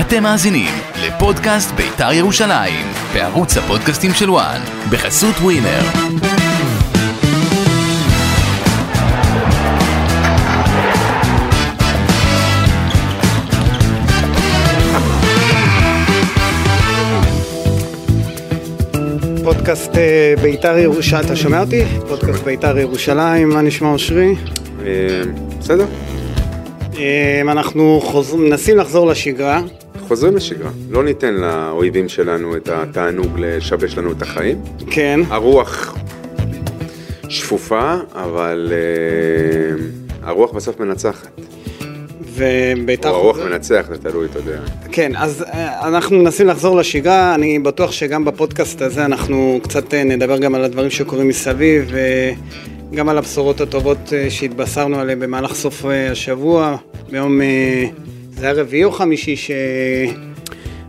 אתם מאזינים לפודקאסט בית"ר ירושלים, בערוץ הפודקאסטים של וואן, בחסות ווינר. פודקאסט אה, בית"ר ירושלים, אתה שומע אותי? פודקאסט בית"ר ירושלים, מה נשמע אושרי? אה, בסדר, אה, אנחנו חוז- מנסים לחזור לשגרה, חוזרים לשגרה. לא ניתן לאויבים שלנו את התענוג לשבש לנו את החיים. כן, אה. הרוח שפופה, אבל אה, הרוח בסוף מנצחת. ובית"ר... או הרוח חוזר- מנצח, זה תלוי, אתה יודע. כן, אז אה, אנחנו מנסים לחזור לשגרה, אני בטוח שגם בפודקאסט הזה אנחנו קצת אה, נדבר גם על הדברים שקורים מסביב, וגם על הבשורות הטובות אה, שהתבשרנו עליהן במהלך סוף אה, השבוע, ביום... אה, זה היה רביעי או חמישי ש...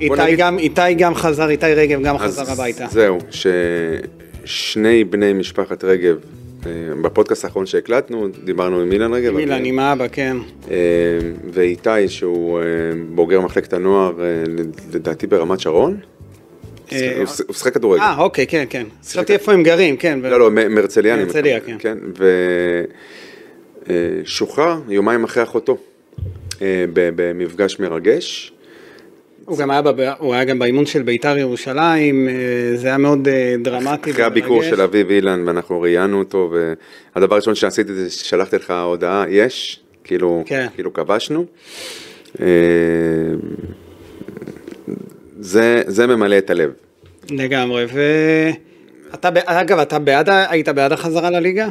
איתי, נגיד- גם, איתי גם חזר, איתי רגב גם אז חזר הביתה. זהו, ששני בני משפחת רגב, אה, בפודקאסט האחרון שהקלטנו, דיברנו עם אילן רגב. מילה, אבל- אני עם האבא, כן. אה, ואיתי, שהוא אה, בוגר מחלקת הנוער, אה, לדעתי ברמת שרון. הוא אה, ש- הוא שחק כדורגל. אה, אוקיי, כן, כן. חשבתי סליחה. איפה הם גרים, כן. ו- לא, לא, מ- מהרצליה. אני מהרצליה, מתכוון, כן. כן, ושוחרר יומיים אחרי אחותו, אה, ב- במפגש מרגש. הוא גם היה, בב... הוא היה גם באימון של בית"ר ירושלים, אה, זה היה מאוד אה, דרמטי. אחרי הביקור ומרגש. של אביב אילן, ואנחנו ראיינו אותו, והדבר הראשון שעשיתי זה ששלחתי לך הודעה, יש, כאילו, כן. כאילו כבשנו. אה, זה, זה ממלא את הלב. לגמרי, ו... אתה, ב- אגב, אתה בעד, ה- היית בעד החזרה לליגה?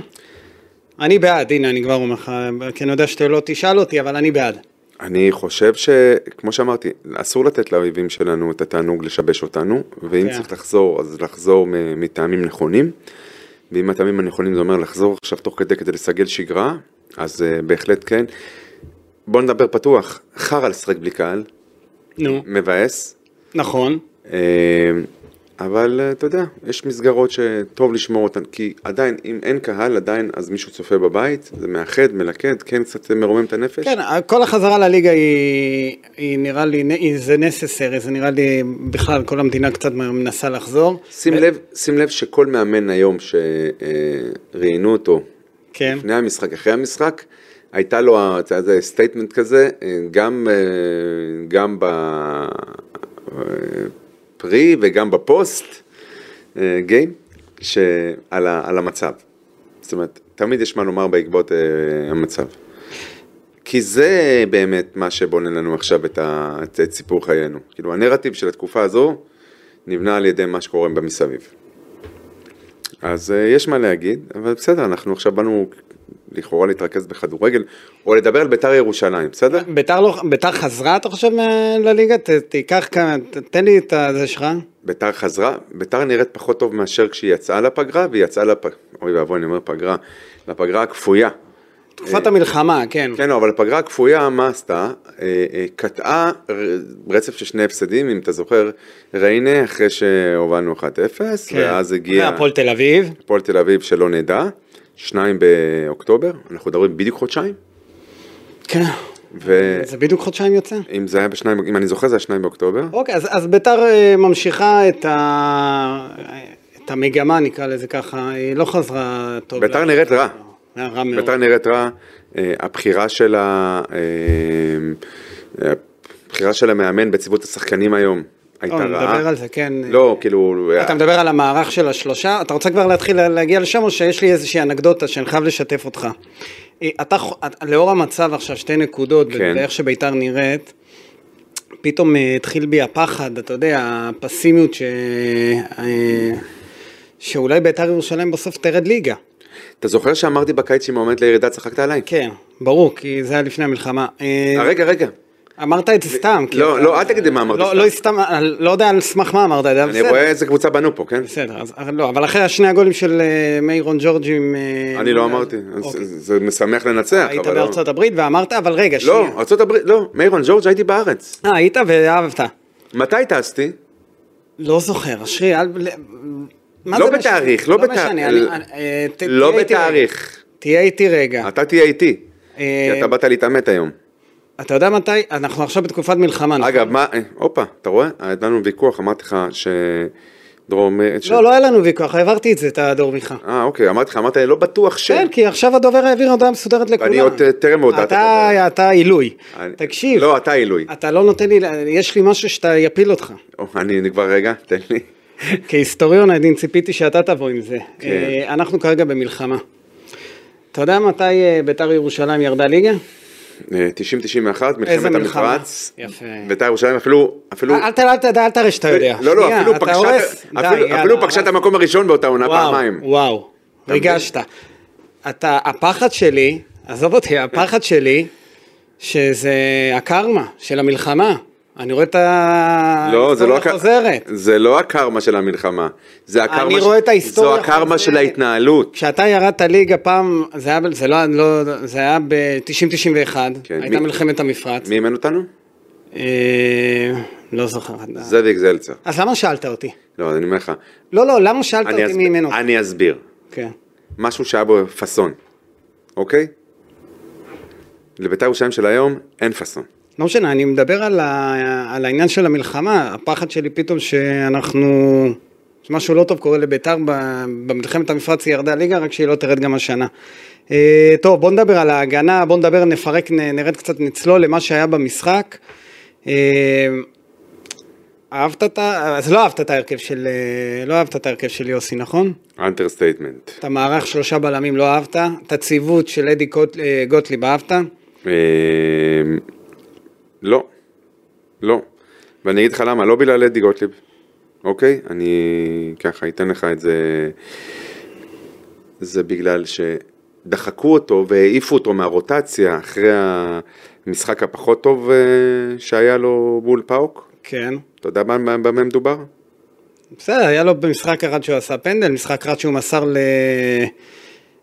אני בעד, הנה, אני כבר אומר לך, כי אני יודע שאתה לא תשאל אותי, אבל אני בעד. אני חושב שכמו שאמרתי, אסור לתת לאויבים שלנו את התענוג לשבש אותנו, ואם כן. צריך לחזור, אז לחזור מ- מטעמים נכונים, ואם הטעמים הנכונים זה אומר לחזור עכשיו תוך כדי כדי לסגל שגרה, אז uh, בהחלט כן. בוא נדבר פתוח, חרא לשחק בלי קהל, נו, מבאס, נכון, אה, אבל אה, אתה יודע, יש מסגרות שטוב לשמור אותן, כי עדיין, אם אין קהל, עדיין אז מישהו צופה בבית, זה מאחד, מלכד, כן קצת מרומם את הנפש. כן, כל החזרה לליגה היא, היא נראה לי, היא- זה necessary, זה נראה לי בכלל, כל המדינה קצת מנסה לחזור. שים לב, שים לב שכל מאמן היום שראיינו אותו כן. לפני המשחק, אחרי המשחק, הייתה לו, ה- אתה יודע, סטייטמנט כזה, אה, גם, אה, גם בפרי וגם בפוסט אה, גיים, שעל ה- על המצב. זאת אומרת, תמיד יש מה לומר בעקבות אה, המצב. כי זה באמת מה שבונה לנו עכשיו את, ה, את, את סיפור חיינו. כאילו, הנרטיב של התקופה הזו נבנה על ידי מה שקורה במסביב. אז אה, יש מה להגיד, אבל בסדר, אנחנו עכשיו באנו לכאורה להתרכז בכדורגל, או לדבר על בית"ר ירושלים, בסדר? ביתר, לא, ביתר חזרה, אתה חושב, מה- לליגה? ת, תיקח כמה, ת- תן לי את הזה שלך. בית"ר חזרה, בית"ר נראית פחות טוב מאשר כשהיא יצאה לפגרה, והיא יצאה לפ... אוי ואבוי, אני אומר פגרה, לפגרה הכפויה. תקופת המלחמה, כן. אה, כן, לא, אבל הפגרה הכפויה, מה עשתה? אה, אה, קטעה ר- רצף של שני הפסדים, אם אתה זוכר, ריינה אחרי שהובלנו 1-0, כן. ואז הגיע... והפועל תל אביב, הפועל תל אביב, שלא נדע, שניים באוקטובר, אנחנו מדברים בדיוק חודשיים, כן. ו... זה בדיוק חודשיים יוצא. אם זה היה בשניים, אם אני זוכר זה היה שניים באוקטובר. אוקיי, אז, אז ביתר אה, ממשיכה את, ה, את המגמה, נקרא לזה ככה, היא לא חזרה טוב. ביתר לה- נראית רע. אה, רע מאוד. ביתר נראית רע, אה, הבחירה של ה... אה, הבחירה של המאמן בציוות השחקנים היום הייתה טוב, רעה. נדבר על זה, כן. לא, כאילו... אתה מדבר על המערך של השלושה, אתה רוצה כבר להתחיל לה- להגיע לשם או שיש לי איזושהי אנקדוטה שאני חייב לשתף אותך. אה, אתה, חו- את- לאור המצב עכשיו, שתי נקודות, כן. ואיך שביתר נראית, פתאום אה, התחיל בי הפחד, אתה יודע, הפסימיות ש... אה, שאולי ביתר ירושלים בסוף תרד ליגה. אתה זוכר שאמרתי בקיץ שהיא מועמדת לירידה, צחקת עליי? כן, ברור, כי זה היה לפני המלחמה. אה, אה, רגע, רגע. אמרת את זה סתם. כי לא, אתה- לא, אל תגיד לי מה אמרתי לא, סתם. לא סתם, לא יודע על סמך מה אמרת, אבל אני בסדר. רואה איזה קבוצה בנו פה, כן? בסדר, אז אבל לא, אבל אחרי השני הגולים של אה, מיירון ג'ורג'י עם... אה, אני לא מונדיאל. אמרתי, אז אוקיי. זה משמח לנצח, היית אבל לא. בארצות הברית ואמרת, אבל רגע, שנייה. לא, ארצות הברית, לא, מאירון ג'ורג' הייתי בארץ. אה, היית ואהבת. מתי טסתי? לא זוכר, אשרי, אל... ל- מה לא זה בתאריך, משנה? לא בתאריך. משנה, אני- אני- אה, ת- לא תהיה איתי רגע. בתאריך. תהיה איתי רגע. אתה תהיה איתי. אה, נכון. כי אתה באת להתעמת היום. אתה יודע מתי? אנחנו עכשיו בתקופת מלחמה. נכון? אגב, מה, אה, הופה, אתה רואה? היה לנו ויכוח, אמרתי לך שדרור אומרת ש... לא, לא היה לנו ויכוח, העברתי את זה, את הדור מיכה. אה, אוקיי, אמרתי לך, אמרת, לא בטוח ש... כן, כי עכשיו הדובר העביר הודעה מסודרת לכולם. ואני עוד, אה, טרם הודעת אתה, אתה עילוי. אני- כן. תקשיב, לא, אתה עילוי. אתה לא נותן לי, ל- יש לי משהו שאתה יפיל אותך. או, אני אני כבר, רגע, תן לי. כהיסטוריון, אני ציפיתי שאתה תבוא עם זה. כן. אה, אנחנו כרגע במלחמה. אתה יודע מתי אה, ביתר ירושלים ירדה ליגה? אה, 90-91, מלחמת מלחמה? המפרץ. יפה. ביתר ירושלים אפילו, אפילו... אל ת- אל ת- אל תראה שאתה יודע. לא, לא, שנייה, אפילו אתה פגשה- הורס. די, אפילו- יאללה, אפילו פגשה את הרסת. המקום הראשון באותה עונה פעמיים. וואו, וואו, אתה מבין? ריגשת. אתה, הפחד שלי, עזוב אותי, הפחד שלי, שזה הקרמה של המלחמה. אני רואה את ה... לא, זה לא, ההיסטוריה הק- חוזרת. זה לא הקרמה של המלחמה. זה הקרמה אני ש- רואה את ההיסטוריה זו הקרמה חוזרת. של ההתנהלות. כשאתה ירדת ליגה פעם, זה היה, ב- זה לא, לא, זה היה ב-90-91, כן, הייתה מי- מלחמת המפרץ. מי אימן אותנו? אה, לא זוכר. זאביק זלצר. אז למה שאלת אותי? לא, אני אומר לך. לא, לא, למה שאלת אני אותי אסב- מי ממנו? אני אסביר. כן. משהו שהיה בו פאסון, אוקיי? לביתר ירושלים של היום אין פאסון. לא משנה, אני מדבר על, ה... על העניין של המלחמה, הפחד שלי פתאום שאנחנו, שמשהו לא טוב קורה לביתר ב... במלחמת המפרץ היא ירדה ליגה, רק שהיא לא תרד גם השנה. אה, טוב, בוא נדבר על ההגנה, בוא נדבר, נפרק, נ... נרד קצת, נצלול למה שהיה במשחק. אה, אהבת את ה... אז לא אהבת את ההרכב של... אה, לא אהבת את ההרכב של יוסי, נכון? אנטרסטייטמנט. את המערך שלושה בלמים לא אהבת, את הציוות של אדי גוט- אה, גוטליב אהבת. אמ, לא. לא. ואני אגיד לך למה, לא בגלל אדי גוטליב, אוקיי? אני ככה אתן לך את זה. זה בגלל שדחקו אותו והעיפו אותו מהרוטציה אחרי המשחק הפחות טוב אה, שהיה לו מול פאוק. כן. אתה יודע במה במה מדובר? בסדר, היה לו במשחק אחד שהוא עשה פנדל, משחק אחד שהוא מסר ל...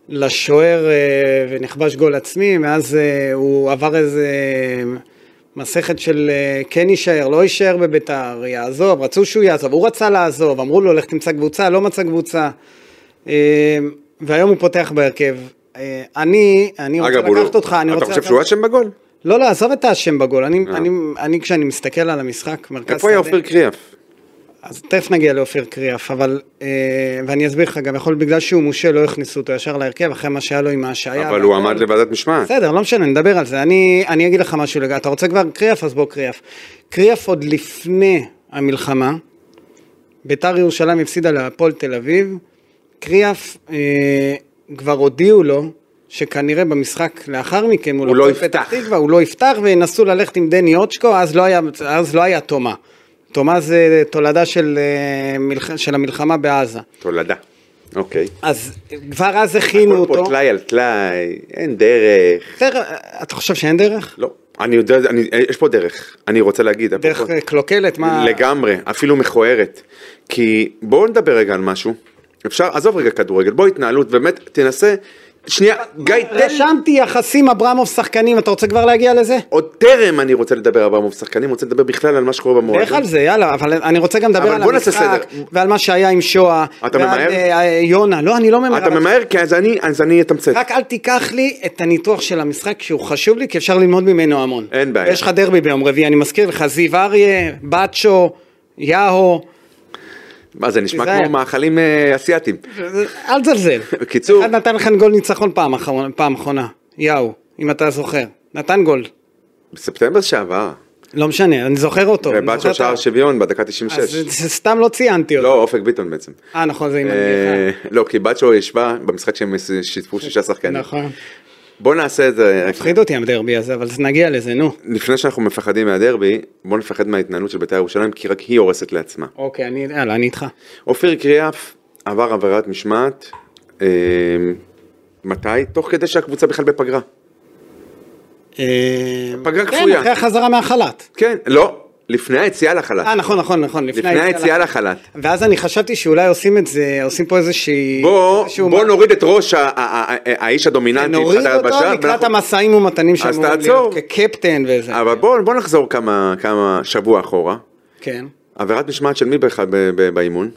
לשוער אה, ונכבש גול עצמי, מאז אה, הוא עבר איזה מסכת של אה, כן יישאר, לא יישאר בביתר, יעזוב, רצו שהוא יעזוב, הוא רצה לעזוב, אמרו לו לך תמצא קבוצה, לא מצא קבוצה, אה, והיום הוא פותח בהרכב. אה, אני, אני רוצה אגב, הוא לא... לקחת אותך, אני אתה רוצה חושב לקחת- שהוא אשם בגול? לא, לא, עזוב את האשם בגול, אני, אה. אני, אני כשאני מסתכל על המשחק, מרכז איפה היה אופיר קריאף? אז תכף נגיע לאופיר קריאף, אבל, אה, ואני אסביר לך גם, יכול להיות בגלל שהוא מושל לא הכניסו אותו ישר להרכב, אחרי מה שהיה לו עם ההשעיה. אבל הוא והכל. עמד לוועדת משמעת. בסדר, לא משנה, נדבר על זה. אני, אני אגיד לך משהו לגבי, אתה רוצה כבר קריאף, אז בוא קריאף. קריאף עוד לפני המלחמה, ביתר ירושלים הפסידה להפועל תל אביב, קריאף אה, כבר הודיעו לו שכנראה במשחק לאחר מכן מול הוא לא הפועל יפתח. פתח תקווה, הוא לא יפתח וינסו ללכת עם דני אוצ'קו, אז לא היה, אז לא היה תומה. תומה זה תולדה של, אה, מלח, של המלחמה בעזה. תולדה. אוקיי. אז כבר אז הכינו הכל פה אותו. טלאי על טלאי, אין דרך. בסדר, אתה חושב שאין דרך? לא. אני יודע, אני, יש פה דרך. אני רוצה להגיד. דרך אפרופו- אה, קלוקלת, מה... לגמרי, אפילו מכוערת. כי בואו נדבר רגע על משהו. אפשר, עזוב רגע כדורגל, בוא התנהלות, באמת, תנסה. שנייה, גיא, תן לי. רשמתי יחסים אברמוב שחקנים, אתה רוצה כבר להגיע לזה? עוד טרם אני רוצה לדבר על ברמוב שחקנים, רוצה לדבר בכלל על מה שקורה במועדון. לך על זה, יאללה, אבל אני רוצה גם לדבר אבל על בוא נעשה המשחק, סדר. ועל מה שהיה עם שואה. אתה ועל, ממהר? אה, אה, יונה, לא, אני לא ממהר. אתה אבל- ממהר? כי אז אני, אז אני אתמצת. רק אל תיקח לי את הניתוח של המשחק שהוא חשוב לי, כי אפשר ללמוד ממנו המון. אין בעיה. יש לך דרבי ביום רביעי, אני מזכיר לך, זיו אריה, בצ'ו, יאהו, מה זה נשמע תיזהר. כמו מאכלים אה, אסיאתיים. אל תזלזל. בקיצור- אחד נתן לכם גול ניצחון פעם אחרונה, פעם אחרונה, יאהו, אם אתה זוכר. נתן גול. בספטמבר שעבר, לא משנה, אני זוכר אותו. אני ובת זוכר של את שער ה- שוויון בדקה אז 96. זה- סתם לא ציינתי אותו. לא, אופק ביטון בעצם. אה, נכון, זה עם אה, הנגיחה. לא, כי בת שלו ישבה במשחק שהם שיתפו שישה שחקנים. נכון. בוא נעשה את זה, רק- מפחיד אותי הדרבי הזה, אבל אז נגיע לזה, נו. לפני שאנחנו מפחדים מהדרבי, בוא נפחד מההתנהלות של בית"ר ירושלים, כי רק היא הורסת לעצמה. אוקיי, אני, יאללה, אני איתך. אופיר קריאף עבר עבירת משמעת, אה, מתי? תוך כדי שהקבוצה בכלל בפגרה. אה, פגרה כן, כפויה. אחרי החזרה מהחל"ת. כן, לא, לפני היציאה לחל"ת. אה, נכון, נכון, נכון. לפני היציאה לחל"ת. ואז אני חשבתי שאולי עושים את זה, עושים פה איזושהי... בוא, איזשהו- בוא נוריד את ראש ה- ה- ה- ה- האיש הדומיננטי, נוריד חדר אותו הלבשה, לקראת ואנחנו- המשאים ומתנים אז שאמורים תעצור. להיות כקפטן וזה. אבל בוא, בוא נחזור כמה, כמה שבוע אחורה. כן. עבירת משמעת של מי בכלל ב- ב- באימון?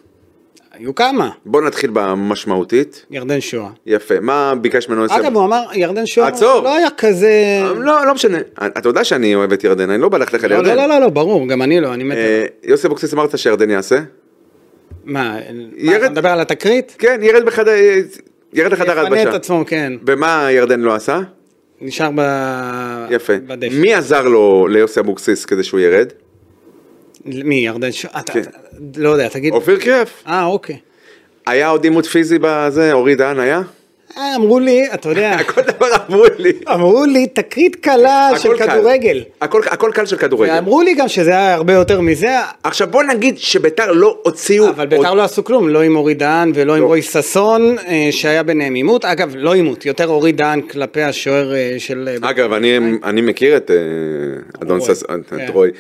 היו כמה, בוא נתחיל במשמעותית. ירדן שואה. יפה, מה ביקש ממנו לסיים? אגב, הוא אמר, ירדן שואה עצור. לא היה כזה... לא, לא משנה. אתה יודע שאני אוהב את ירדן, אני לא בא ללכת לך לא, לירדן. לא, לא, לא, לא, ברור, גם אני לא, אני מת... אה, יוסי אבוקסיס אמרת שירדן יעשה? מה, מה, ירד- אתה מדבר על התקרית? כן, ירד בחדר, אה, ירד לחדר יפנה את ההלבשה. עצמו, כן. ומה ירדן לא עשה? נשאר ב... יפה. בדשא. מי עזר לו, ליוסי אבוקסיס, כדי שהוא ירד? מי? ירדן שואה? אתה... כן. אתה- לא יודע, תגיד. אופיר קריאף. אה, אוקיי. היה עוד עימות פיזי בזה, אורי דהן היה? אה, אמרו לי, אתה יודע, כל דבר אמרו לי. אמרו לי, תקרית קלה של הכל קל. כדורגל. הכל הכל קל של כדורגל. אמרו לי גם שזה היה הרבה יותר מזה, עכשיו בוא נגיד שביתר לא הוציאו... אבל ביתר לא עשו כלום, לא עם אורי דהן ולא עם לא. רועי ששון, אה, שהיה ביניהם עימות. אגב, לא עימות, יותר אורי דהן כלפי השוער אה, של... אה, אגב, אני, אני מכיר את אה, אדון רוי, סס... את- את כן. רוי,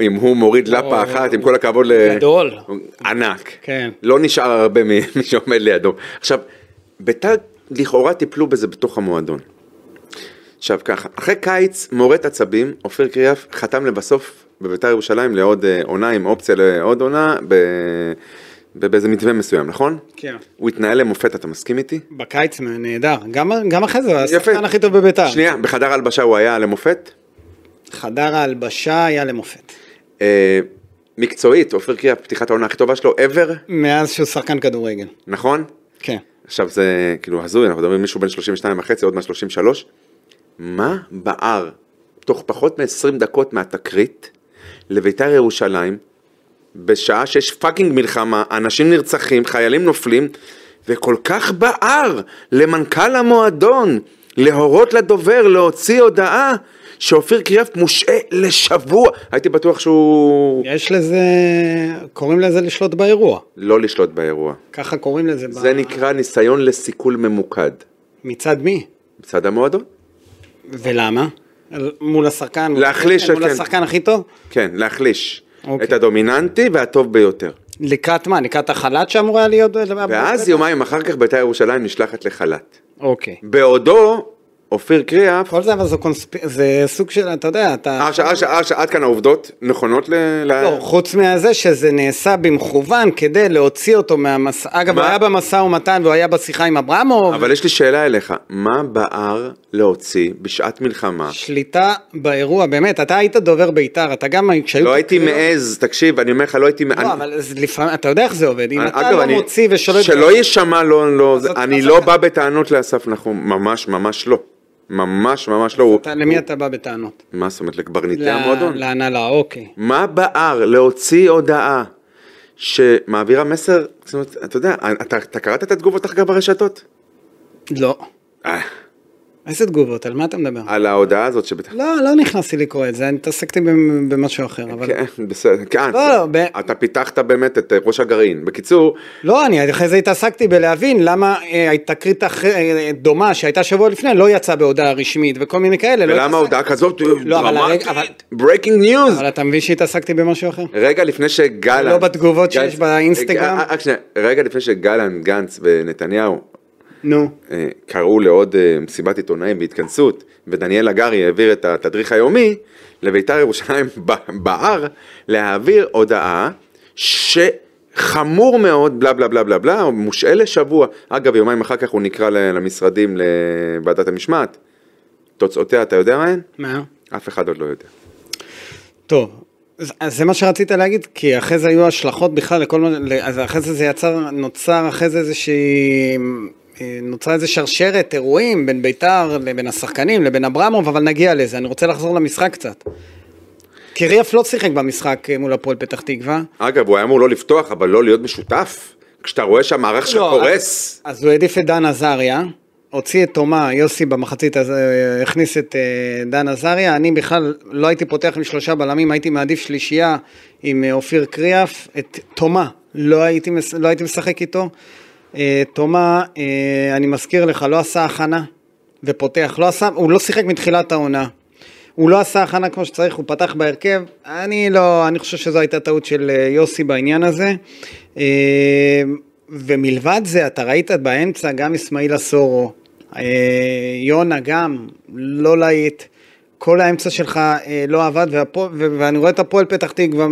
אם הוא מוריד לפה הוא- אחת, עם כל הכבוד ל... גדול. ענק. כן. לא נשאר הרבה ממי שעומד לידו. עכשיו, ביתר לכאורה טיפלו בזה בתוך המועדון. עכשיו ככה, אחרי קיץ מורט עצבים, אופיר קריאף חתם לבסוף בביתר ירושלים לעוד אה, עונה עם אופציה לעוד עונה ב... ב- באיזה מתווה מסוים, נכון? כן. הוא התנהל למופת, אתה מסכים איתי? בקיץ נהדר, גם- גם אחרי זה, הוא יפה. השחקן הכי טוב בביתר. שנייה, בחדר הלבשה הוא היה למופת? חדר ההלבשה היה למופת. אה, מקצועית, אופיר קריאף, פתיחת העונה הכי טובה שלו ever, מאז שהוא שחקן כדורגל. נכון? כן. עכשיו זה כאילו הזוי, אנחנו מדברים עם מישהו בן 32 וחצי, עוד מעט 33. מה בער תוך פחות מ-20 דקות מהתקרית לביתר ירושלים, בשעה שיש פאקינג מלחמה, אנשים נרצחים, חיילים נופלים, וכל כך בער למנכ"ל המועדון להורות לדובר להוציא הודעה שאופיר קריאף מושעה לשבוע. הייתי בטוח שהוא... יש לזה, קוראים לזה לשלוט באירוע. לא לשלוט באירוע. ככה קוראים לזה. ב- זה נקרא ניסיון לסיכול ממוקד. מצד מי? מצד המועדון? ולמה? אל- מול השחקן? מול להחליש השחקן, מול את- כן. השחקן הכי טוב? כן, להחליש. אוקיי. את הדומיננטי והטוב ביותר. לקראת מה? לקראת החל"ת שאמור היה להיות? ואז יומיים אחר כך בית"ר ירושלים נשלחת לחל"ת. אוקיי. בעודו, אופיר קריאף... אה, כל זה אבל זה, קונספ... זה סוג של, אתה יודע, אתה... עכשיו, עכשיו, עכשיו, עד כאן העובדות נכונות ל... ל- לא, חוץ מזה שזה נעשה במכוון כדי להוציא אותו מהמסע... אגב, מה? הוא היה במשא ומתן והוא היה בשיחה עם אברמוב. אבל יש לי שאלה אליך, מה בער להוציא בשעת מלחמה? שליטה באירוע, באמת, אתה היית דובר בית"ר, אתה גם כשהיו... לא הייתי תקריות- מעז, תקשיב, אני אומר לך, לא הייתי... לא, אבל זה לפעמים, אתה יודע איך זה עובד, אם אתה אה, אגב, לא אני- מוציא ושולט... שלא יישמע לא, לא, אז אתה- אני אז לא אתה- בא בטענות לאסף נחום, ממש ממש לא. ממש ממש לא. הוא- אתה- למי אתה בא בטענות? מה זאת אומרת, לקברניטי לה- המועדון? להנהלה, אוקיי. מה בער להוציא הודעה שמעבירה מסר, זאת אומרת, אתה יודע, אתה, אתה קראת את התגובות אחר כך ברשתות? לא. אה, איזה תגובות? על מה אתה מדבר? על ההודעה הזאת שבטח... לא, לא נכנסתי לקרוא את זה, אני התעסקתי במ- במשהו אחר, אבל... כן, בסדר, כן, לא, לא, ב- אתה פיתחת באמת את אה, ראש הגרעין. בקיצור, לא, אני אחרי זה התעסקתי בלהבין למה אה, התקרית אחר- אה, דומה שהייתה שבוע לפני לא יצאה בהודעה רשמית וכל מיני כאלה. לא ולמה התעסק- ההודעה כזאת אה, לא, אבל הרגע- דרמטית? ברייקינג ניוז! אבל אתה מבין שהתעסקתי במשהו אחר? רגע לפני שגלנט... לא בתגובות גנץ- שיש באינסטגרם? אה, רק שנייה, רגע לפני שגלנט, גנץ ונתניהו נו. אה, קראו לעוד אה, מסיבת עיתונאים והתכנסות, ודניאל הגרי העביר את התדריך היומי, לביתר ירושלים ב- בער להעביר הודעה שחמור מאוד, בלה בלה בלה בלה בלה, הוא מושעה לשבוע. אגב, יומיים אחר כך הוא נקרא ל- למשרדים לוועדת המשמעת. תוצאותיה, אתה יודע מה הן? מה? אף אחד עוד לא יודע. טוב, אז- אז זה מה שרצית להגיד, כי אחרי זה היו השלכות בכלל לכל מיני, ל- אז אחרי זה זה יצר, נוצר אחרי זה איזושהי, אה, נוצרה איזו שרשרת אירועים בין ביתר לבין השחקנים לבין אברמוב, אבל נגיע לזה, אני רוצה לחזור למשחק קצת. קריאף לא שיחק במשחק אה, מול הפועל פתח תקווה. אגב, הוא היה אמור לא לפתוח, אבל לא להיות משותף. כשאתה רואה שהמערך שלך לא, קורס. אז, אז הוא העדיף את דן עזריה, הוציא את תומה, יוסי במחצית, אז, אה, הכניס את אה, דן עזריה, אני בכלל לא הייתי פותח עם שלושה בלמים, הייתי מעדיף שלישייה עם אה, אופיר קריאף, את תומה, לא הייתי, מס- לא הייתי משחק איתו. אה, תומה, אה, אני מזכיר לך, לא עשה הכנה ופותח, לא עשה, הוא לא שיחק מתחילת העונה. הוא לא עשה הכנה כמו שצריך, הוא פתח בהרכב. אני לא, אני חושב שזו הייתה טעות של אה, יוסי בעניין הזה. אה, ומלבד זה, אתה ראית באמצע גם אסמאעיל אסורו, אה, יונה גם, לא להיט. כל האמצע שלך אה, לא עבד, והפוע- ו- ואני רואה את הפועל פתח תקווה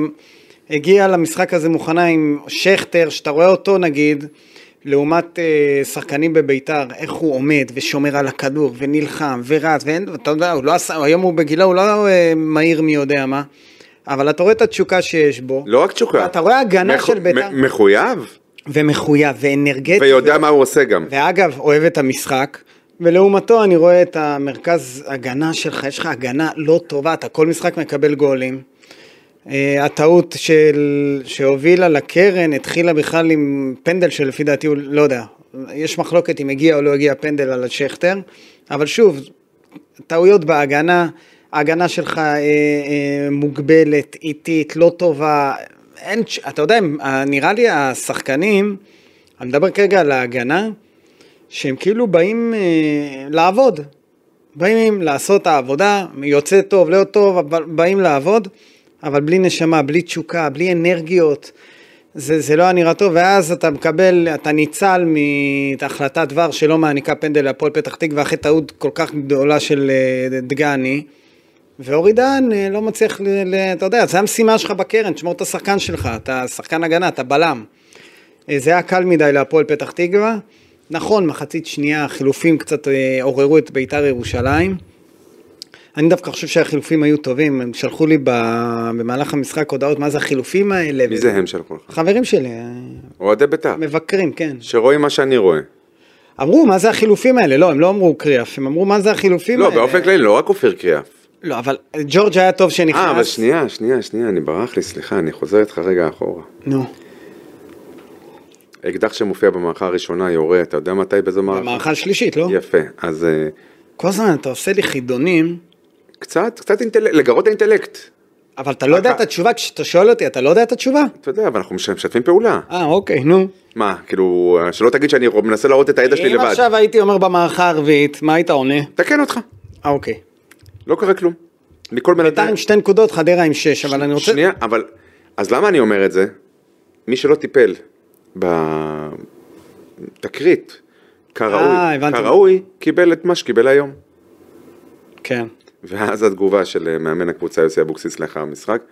הגיעה למשחק הזה מוכנה עם שכטר, שאתה רואה אותו נגיד, לעומת אה, שחקנים בביתר, איך הוא עומד ושומר על הכדור ונלחם ורץ, ואין, אתה יודע, הוא לא עשה, היום הוא בגילה, הוא לא אה, מהיר מי יודע מה, אבל אתה רואה את התשוקה שיש בו, לא רק תשוקה. אתה רואה הגנה מחו- של בית"ר. מ- מחויב, ומחויב ואנרגטי. ויודע מה הוא עושה גם. ואגב, אוהב את המשחק, ולעומתו אני רואה את המרכז הגנה שלך, יש לך הגנה לא טובה, אתה כל משחק מקבל גולים. אה, הטעות של, שהובילה לקרן התחילה בכלל עם פנדל שלפי דעתי הוא, לא יודע, יש מחלוקת אם הגיע או לא הגיע פנדל על שכטר, אבל שוב, טעויות בהגנה, ההגנה שלך אה, אה, מוגבלת, איטית, לא טובה, אין, ש- אתה יודע, הם- אה, נראה לי השחקנים, אני מדבר כרגע על ההגנה, שהם כאילו באים אה, לעבוד, באים לעשות את העבודה, יוצא טוב, לא טוב, אבל באים לעבוד, אבל בלי נשמה, בלי תשוקה, בלי אנרגיות. זה, זה לא היה נראה טוב, ואז אתה מקבל, אתה ניצל מהחלטת דבר שלא מעניקה פנדל להפועל פתח תקווה אחרי טעות כל כך גדולה של אה, דגני, ואורי דהן אה, לא מצליח, ל, ל, אתה יודע, זו המשימה שלך בקרן, תשמור את השחקן שלך, אתה שחקן הגנה, אתה בלם. אה, זה היה קל מדי להפועל פתח תקווה. נכון, מחצית שנייה, חילופים קצת אה, עוררו את ביתר ירושלים. אני דווקא חושב שהחילופים היו טובים, הם שלחו לי ב- במהלך המשחק הודעות, מה זה החילופים האלה? מי זה הם שלחו לך? חברים שלי, אה, אוהדי בית"ר, מבקרים, כן. שרואים מה שאני רואה. אמרו, מה זה החילופים האלה? לא, הם לא אמרו קריאף, הם אמרו, מה זה החילופים לא, האלה? באופן כללי, לא רק אופיר קריאף. לא, אבל ג'ורג' היה טוב שנכנס. אה, אבל שנייה, שנייה, שנייה, אני ברח לי, סליחה, אני חוזר איתך רגע אחורה. נו, אקדח שמופיע במערכה הראשונה יורה, אתה יודע מתי באיזו מערכה? במערכה השלישית, לא? יפה, אז אה, כל הזמן אתה עושה לי חידונים, קצת, קצת אינטלקט, לגרות האינטלקט. אבל אתה לא יודע אתה- את התשובה, כשאתה שואל אותי, אתה לא יודע את התשובה? אתה יודע, אבל אנחנו מש- משתפים פעולה. אה, אוקיי, נו. מה, כאילו, שלא תגיד שאני רוא- מנסה להראות את הידע שלי אם לבד. עכשיו הייתי אומר במערכה הרביעית, מה היית עונה? תקן אותך, אה, אוקיי. לא קרה כלום. מכל בן ביתר אדם. עם שתי נקודות, חדרה עם שש, אבל אני רוצה... שנייה, אבל, אז למה אני אומר את זה? מי שלא טיפל בתקרית, אה, כראוי, הבנתי. כראוי, קיבל את מה שקיבל היום. כן. ואז התגובה של אה, מאמן הקבוצה יוסי אבוקסיס לאחר המשחק,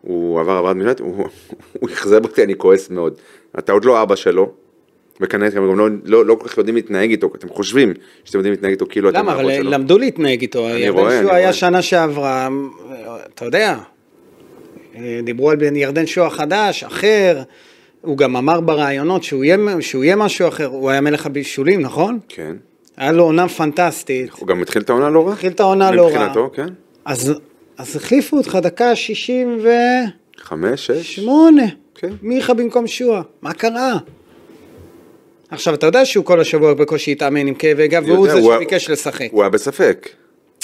הוא עבר עברת מילה, הוא הוא אכזב אותי, אני כועס מאוד. אתה עוד לא אבא שלו, וכנראה אתם גם לא, לא, לא כל כך יודעים להתנהג איתו, אתם חושבים שאתם יודעים להתנהג איתו כאילו אתם למה? האבות אבל אה, שלו. למדו להתנהג איתו. אני רואה, אני שהוא רואה. היה שנה שעברה, אתה יודע, אה, דיברו על בן ירדן שואה חדש, אחר, הוא גם אמר בראיונות שהוא יהיה- שהוא יהיה משהו אחר, הוא היה מלך הבישולים, נכון? כן. היה לו עונה פנטסטית. הוא גם התחיל את העונה לא רע. התחיל את העונה לא רע. מבחינתו, כן. אז אז החליפו אותך דקה 68, חמש, שש. כן. מיכה במקום שואה, מה קרה? עכשיו, אתה יודע שהוא כל השבוע בקושי התאמן עם כאבי גב, והוא יודע, זה הוא- שביקש לשחק. הוא היה בספק.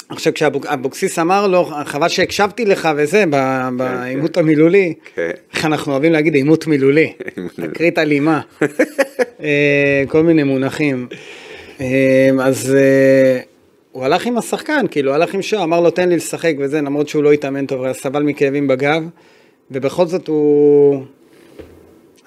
עכשיו כשאבוקסיס אמר לו, חבל שהקשבתי לך וזה, ב- בעימות המילולי, כן. איך אנחנו אוהבים להגיד עימות מילולי, תקרית אלימה, אה, כל מיני מונחים. אה, אז אה, הוא הלך עם השחקן, כאילו, הלך עם שוער, אמר לו תן לי לשחק וזה, למרות שהוא לא התאמן טוב, אבל סבל מכאבים בגב, ובכל זאת הוא...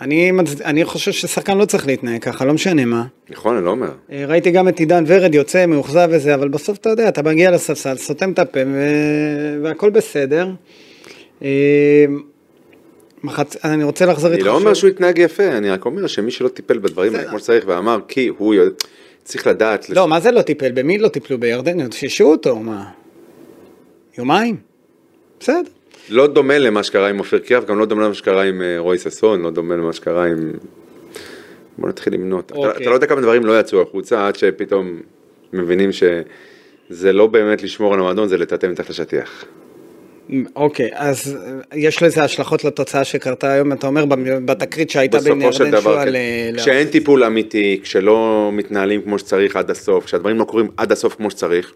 אני, מצד- אני חושב ששחקן לא צריך להתנהג ככה, לא משנה מה. נכון, אני לא אומר. אה, ראיתי גם את עידן ורד יוצא מאוכזב וזה, אבל בסוף אתה יודע, אתה מגיע לספסל, סותם את הפה ו- והכל בסדר. אה, מחצ... אני רוצה לחזור אני איתך לא אומר שוב. שהוא התנהג יפה, אני רק אומר שמי שלא טיפל בדברים האלה כמו שצריך ואמר כי הוא יודע- צריך לדעת. לש- לא, מה זה לא טיפל? במי לא טיפלו? בירדן? שישעו אותו, מה? יומיים? בסדר. לא דומה למה שקרה עם אופיר קריאף, גם לא דומה למה שקרה עם אה, רוי ששון, לא דומה למה שקרה עם... בוא נתחיל למנות. אתה- אוקיי. אתה לא יודע כמה דברים לא יצאו החוצה עד שפתאום מבינים שזה לא באמת לשמור על המועדון, זה לטאטא מתחת לשטיח. אוקיי, אז אה, יש לזה השלכות לתוצאה שקרתה היום, אתה אומר, במ- בתקרית שהייתה בין בסופו של ירדן דבר, שועה כן. ל... כשאין טיפול אמיתי, כשלא מתנהלים כמו שצריך עד הסוף, כשהדברים לא קורים עד הסוף כמו שצריך,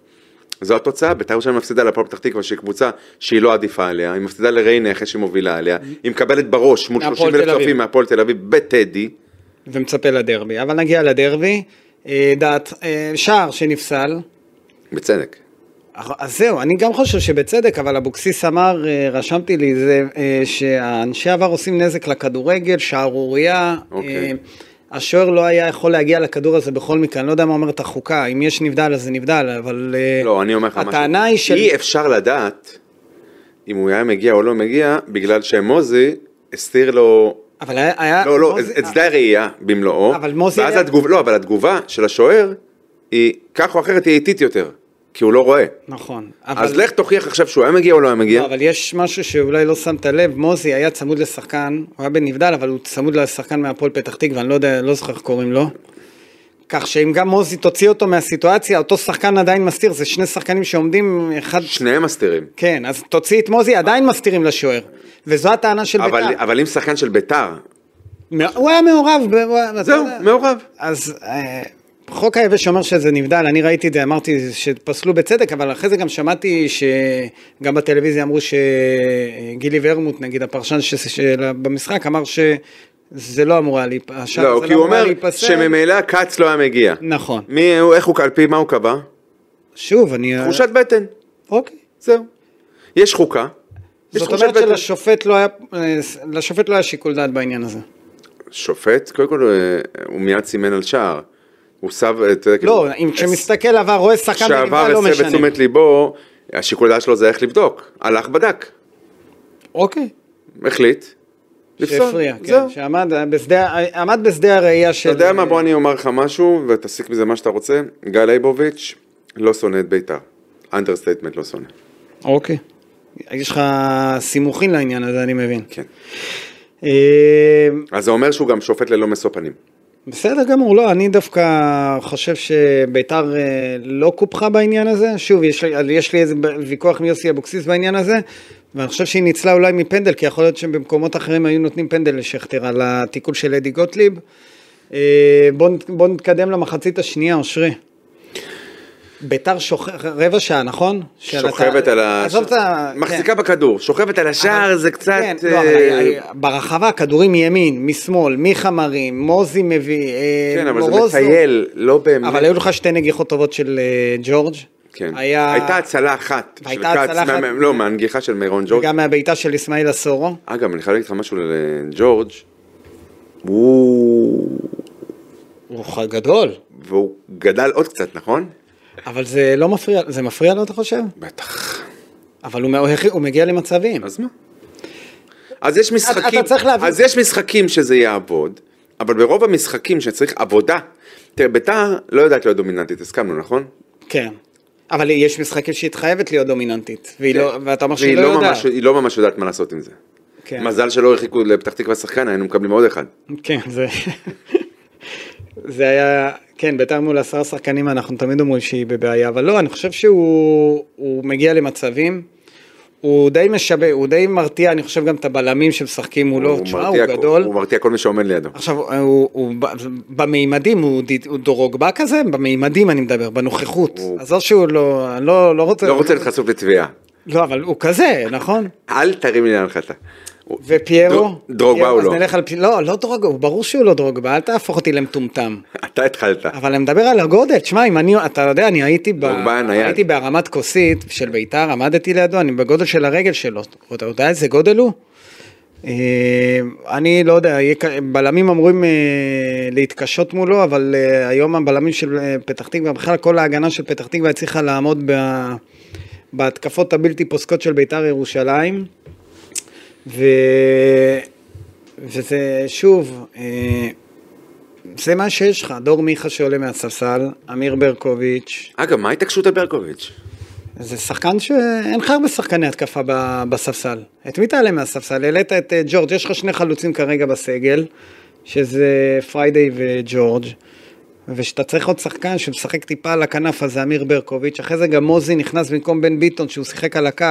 זו התוצאה, בית"ר ירושלים מפסידה להפועל פתח תקווה, שהיא קבוצה שהיא לא עדיפה עליה, היא מפסידה לריינה אחרי שהיא מובילה עליה, היא מקבלת בראש מול מהפועל 30 תל אלף אביב. צופים מהפועל תל אביב בטדי, ומצפה לדרבי, אבל נגיע לדרבי. אה, דעת, אה, שער שנפסל, בצדק. אה, אז זהו, אני גם חושב שבצדק, אבל אבוקסיס אמר, אה, רשמתי לי, זה אה, שהאנשי עבר עושים נזק לכדורגל, שערורייה. אוקיי. אה, השוער לא היה יכול להגיע לכדור הזה בכל מקרה, אני לא יודע מה אומרת החוקה, אם יש נבדל אז זה נבדל, אבל... אה, לא, אני אומר לך משהו. הטענה היא של... אי אפשר לדעת אם הוא היה מגיע או לא מגיע, בגלל שמוזי הסתיר לו... אבל היה... היה- לא, לא, אה, מוזי- את- את שדה הראייה במלואו. אבל מוזי ואז היה- התגובה, לא, אבל התגובה של השוער היא, כך או אחרת, היא איטית יותר, כי הוא לא רואה. נכון. אז אבל- לך תוכיח עכשיו שהוא היה מגיע או לא היה מגיע. לא, אבל יש משהו שאולי לא שמת לב, מוזי היה צמוד לשחקן, הוא היה בנבדל, אבל הוא צמוד לשחקן מהפועל פתח תקווה, אני לא יודע, לא זוכר איך קוראים לו. כך שאם גם מוזי תוציא אותו מהסיטואציה, אותו שחקן עדיין מסתיר, זה שני שחקנים שעומדים אחד... שניהם מסתירים. כן, אז תוציא את מוזי, עדיין מסתירים לשוער. וזו הטענה של אבל- בית"ר. אבל אם שחקן של ביתר, מא- הוא היה מעורב. ב- הוא היה- אתה זהו, יודע. מעורב. אז אה, חוק היבש אומר שזה נבדל, אני ראיתי את זה, אמרתי שפסלו בצדק, אבל אחרי זה גם שמעתי שגם בטלוויזיה אמרו שגילי ורמוט, נגיד הפרשן ש... של... במשחק, אמר שזה לא אמור היה להיפסל. השער לא, הזה כי הוא אמור היה אומר להיפסל. שממילא כץ לא היה מגיע. נכון. מי הוא, איך הוא, על פי מה הוא קבע? שוב, אני... אה, תחושת בטן, אוקיי. זהו. יש חוקה. יש זאת תחושת אומרת בטן. שלשופט לא היה, אה, לשופט לא היה שיקול דעת בעניין הזה. שופט, קודם כל אה, הוא מיד סימן על שער. הוא סב... אתה יודע, לא, כאילו, אם כשמסתכל עבר, רואה שחקן בנבדל, שעבר לא הסב את משנה. תשומת ליבו, השיקול דעת שלו זה איך לבדוק. הלך בדק, אוקיי. החליט. לפסול. שהפריע, כן, זהו. שעמד בשדה, עמד בשדה הראייה של... אה, אתה יודע מה, בוא אני אומר לך משהו, ותסיק מזה מה שאתה רוצה. גל ליבוביץ' לא שונא את בית"ר. אנדרסטייטמנט לא שונא. אוקיי. יש לך סימוכין לעניין הזה, אני מבין. כן. אה, אז זה אומר שהוא גם שופט ללא משוא פנים. בסדר גמור, לא, אני דווקא חושב שביתר אה, לא קופחה בעניין הזה. שוב, יש לי, יש לי איזה ויכוח עם יוסי אבוקסיס בעניין הזה, ואני חושב שהיא ניצלה אולי מפנדל, כי יכול להיות שבמקומות אחרים היו נותנים פנדל לשכטר על התיקול של אדי גוטליב. אה, בוא, נ- בוא נתקדם למחצית השנייה, אושרי. ביתר שוכבת, רבע שעה, נכון? של הת- שוכבת על ה... עזוב את ה... כן. מחזיקה בכדור, שוכבת על השער, זה קצת... כן, לא, אבל אה, היה- ברחבה כדורים מימין, משמאל, מיכה מרים, מוזי מביא, אה, כן, אבל זה מורוזוב. מטייל, לא באמת. אבל היו לך שתי נגיחות טובות של אה, ג'ורג'. כן. היה- הייתה הצלה אחת. של והייתה כץ, הצלה אחת. מה- לא, מהנגיחה של מירון ג'ורג'. גם מהבעיטה של אסמאעיל אסורו. אגב, אני חייב להגיד לך משהו לג'ורג'. הוא... הוא ח- גדול. והוא גדל עוד קצת, נכון? אבל זה לא מפריע, זה מפריע לו אתה חושב? בטח. אבל הוא, מ- הוא מגיע למצבים. אז מה? אז יש משחקים, אתה צריך להבין- אז יש משחקים שזה יעבוד, אבל ברוב המשחקים שצריך עבודה, תראה, ביתר לא יודעת להיות דומיננטית, הסכמנו, נכון? כן. אבל יש משחקים שהיא חייבת להיות דומיננטית, והיא לא, ואתה אומר כן. והיא שהיא לא יודעת. ממש- היא לא ממש יודעת מה לעשות עם זה. כן. מזל שלא הרחיקו לפתח תקווה שחקן, היינו מקבלים עוד אחד. כן, זה... זה היה... כן, ביתר מול עשרה שחקנים, אנחנו תמיד אומרים שהיא בבעיה, אבל לא, אני חושב שהוא הוא מגיע למצבים. הוא די משבה, הוא די מרתיע, אני חושב, גם את הבלמים שמשחקים מולו, לא, תשמע, הוא מרתיע- גדול. הוא מרתיע כל מי שעומד לידו. עכשיו, הוא, הוא ב- במימדים, הוא, ד- הוא דורוגבה כזה, במימדים אני מדבר, בנוכחות. הוא- אז או שהוא לא, אני לא, לא רוצה... לא רוצה להיות חשוף לתביעה. לא, אבל הוא כזה, נכון? אל תרים לי להנחתה. ופיירו? דרוג- דרוגבה פיירו, הוא לא. אז נלך על... פי- לא, לא דרוגבה, הוא ברור שהוא לא דרוגבה, אל תהפוך אותי למטומטם. אתה התחלת. אבל אני מדבר על הגודל, תשמע, אם אני, אתה יודע, אני הייתי, ב, דרוגבה הנייד. הייתי בהרמת כוסית של ביתר, עמדתי לידו, אני בגודל של הרגל שלו, אתה יודע איזה גודל הוא? אה, אני לא יודע, יהיה ק- בלמים אמורים אה, להתקשות מולו, אבל אה, היום הבלמים של אה, פתח תקווה, בכלל כל ההגנה של פתח תקווה הצליחה לעמוד ב, בהתקפות הבלתי פוסקות של ביתר ירושלים. ו... וזה שוב, אה, זה מה שיש לך, דור מיכה שעולה מהספסל, אמיר ברקוביץ', אגב, מה ההתעקשות על ברקוביץ'? זה שחקן שאין לך הרבה שחקני התקפה ב- בספסל. את מי תעלה מהספסל? העלית את אה, ג'ורג', יש לך שני חלוצים כרגע בסגל, שזה פריידי וג'ורג', ושאתה צריך עוד שחקן שמשחק טיפה על הכנף, אז זה אמיר ברקוביץ', אחרי זה גם מוזי נכנס במקום בן ביטון שהוא שיחק על הקו.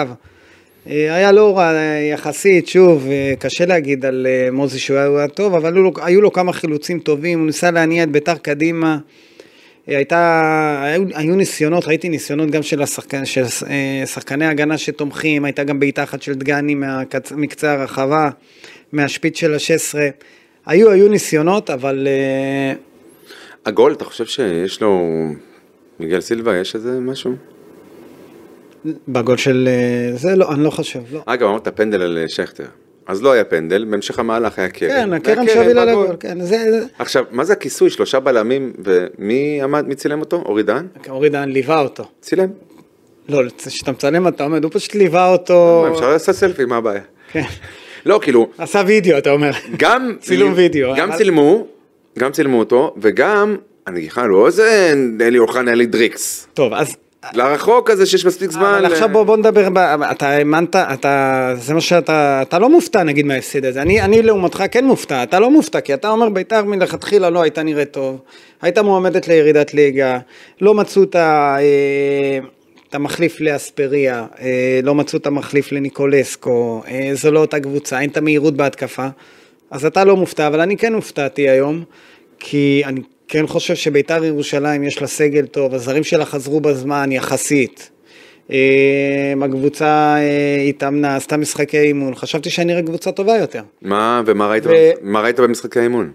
אה, היה לא רע אה, יחסית, שוב, אה, קשה להגיד על אה, מוזי שהוא היה- הוא היה טוב, אבל היו לו, היו לו כמה חילוצים טובים, הוא ניסה להניע את ביתר קדימה. אה, הייתה, היו, היו ניסיונות, ראיתי ניסיונות גם של, השחקן, של אה, שחקני הגנה שתומכים, הייתה גם בעיטה אחת של דגני מהקצ, מקצה הרחבה, מהשפיץ של ה-16. היו, היו ניסיונות, אבל אה, הגול, אתה חושב שיש לו... מיגל סילבה, יש איזה משהו? בגול של אה, זה, לא, אני לא חושב, לא. אגב, אמרת פנדל על אה, שכטר. אז לא היה פנדל, בהמשך המהלך היה קרן. כן, הקרן והקרן שהובילה בגול. לגול, כן, זה, זה- עכשיו, מה זה הכיסוי? שלושה בלמים, ומי עמד, מי צילם אותו? אורי דהן? אורי דהן ליווה אותו. צילם. לא, כשאתה מצלם אתה עומד, הוא פשוט ליווה אותו. אפשר לעשות סלפי, מה הבעיה? כן. לא, כאילו, עשה וידאו, אתה אומר. גם... צילום וידאו. גם אה? צילמו, גם צילמו אותו, וגם, הנגיחה לא איזה אלי אוחנה, אלי דריקס. טוב, אז... לרחוק הזה שיש מספיק זמן. אבל עכשיו ל- בוא, בוא נדבר, ב... אתה האמנת, אתה, זה מה שאתה, אתה לא מופתע נגיד מההפסד הזה, אני, אני לעומתך כן מופתע, אתה לא מופתע, כי אתה אומר בית"ר מלכתחילה לא הייתה נראית טוב, הייתה מועמדת לירידת ליגה, לא מצאו את ה... אה, את המחליף לאספריה, אה, לא מצאו את המחליף לניקולסקו, אה, זו לא אותה קבוצה, אין את המהירות בהתקפה, אז אתה לא מופתע, אבל אני כן הופתעתי היום, כי אני כן חושב שבית"ר ירושלים יש לה סגל טוב, הזרים שלה חזרו בזמן יחסית. אה, הקבוצה אה, התאמנה, עשתה משחקי אימון, חשבתי שאני נראית קבוצה טובה יותר. מה, ומה ראית ו- במש- מה ראית במשחקי האימון?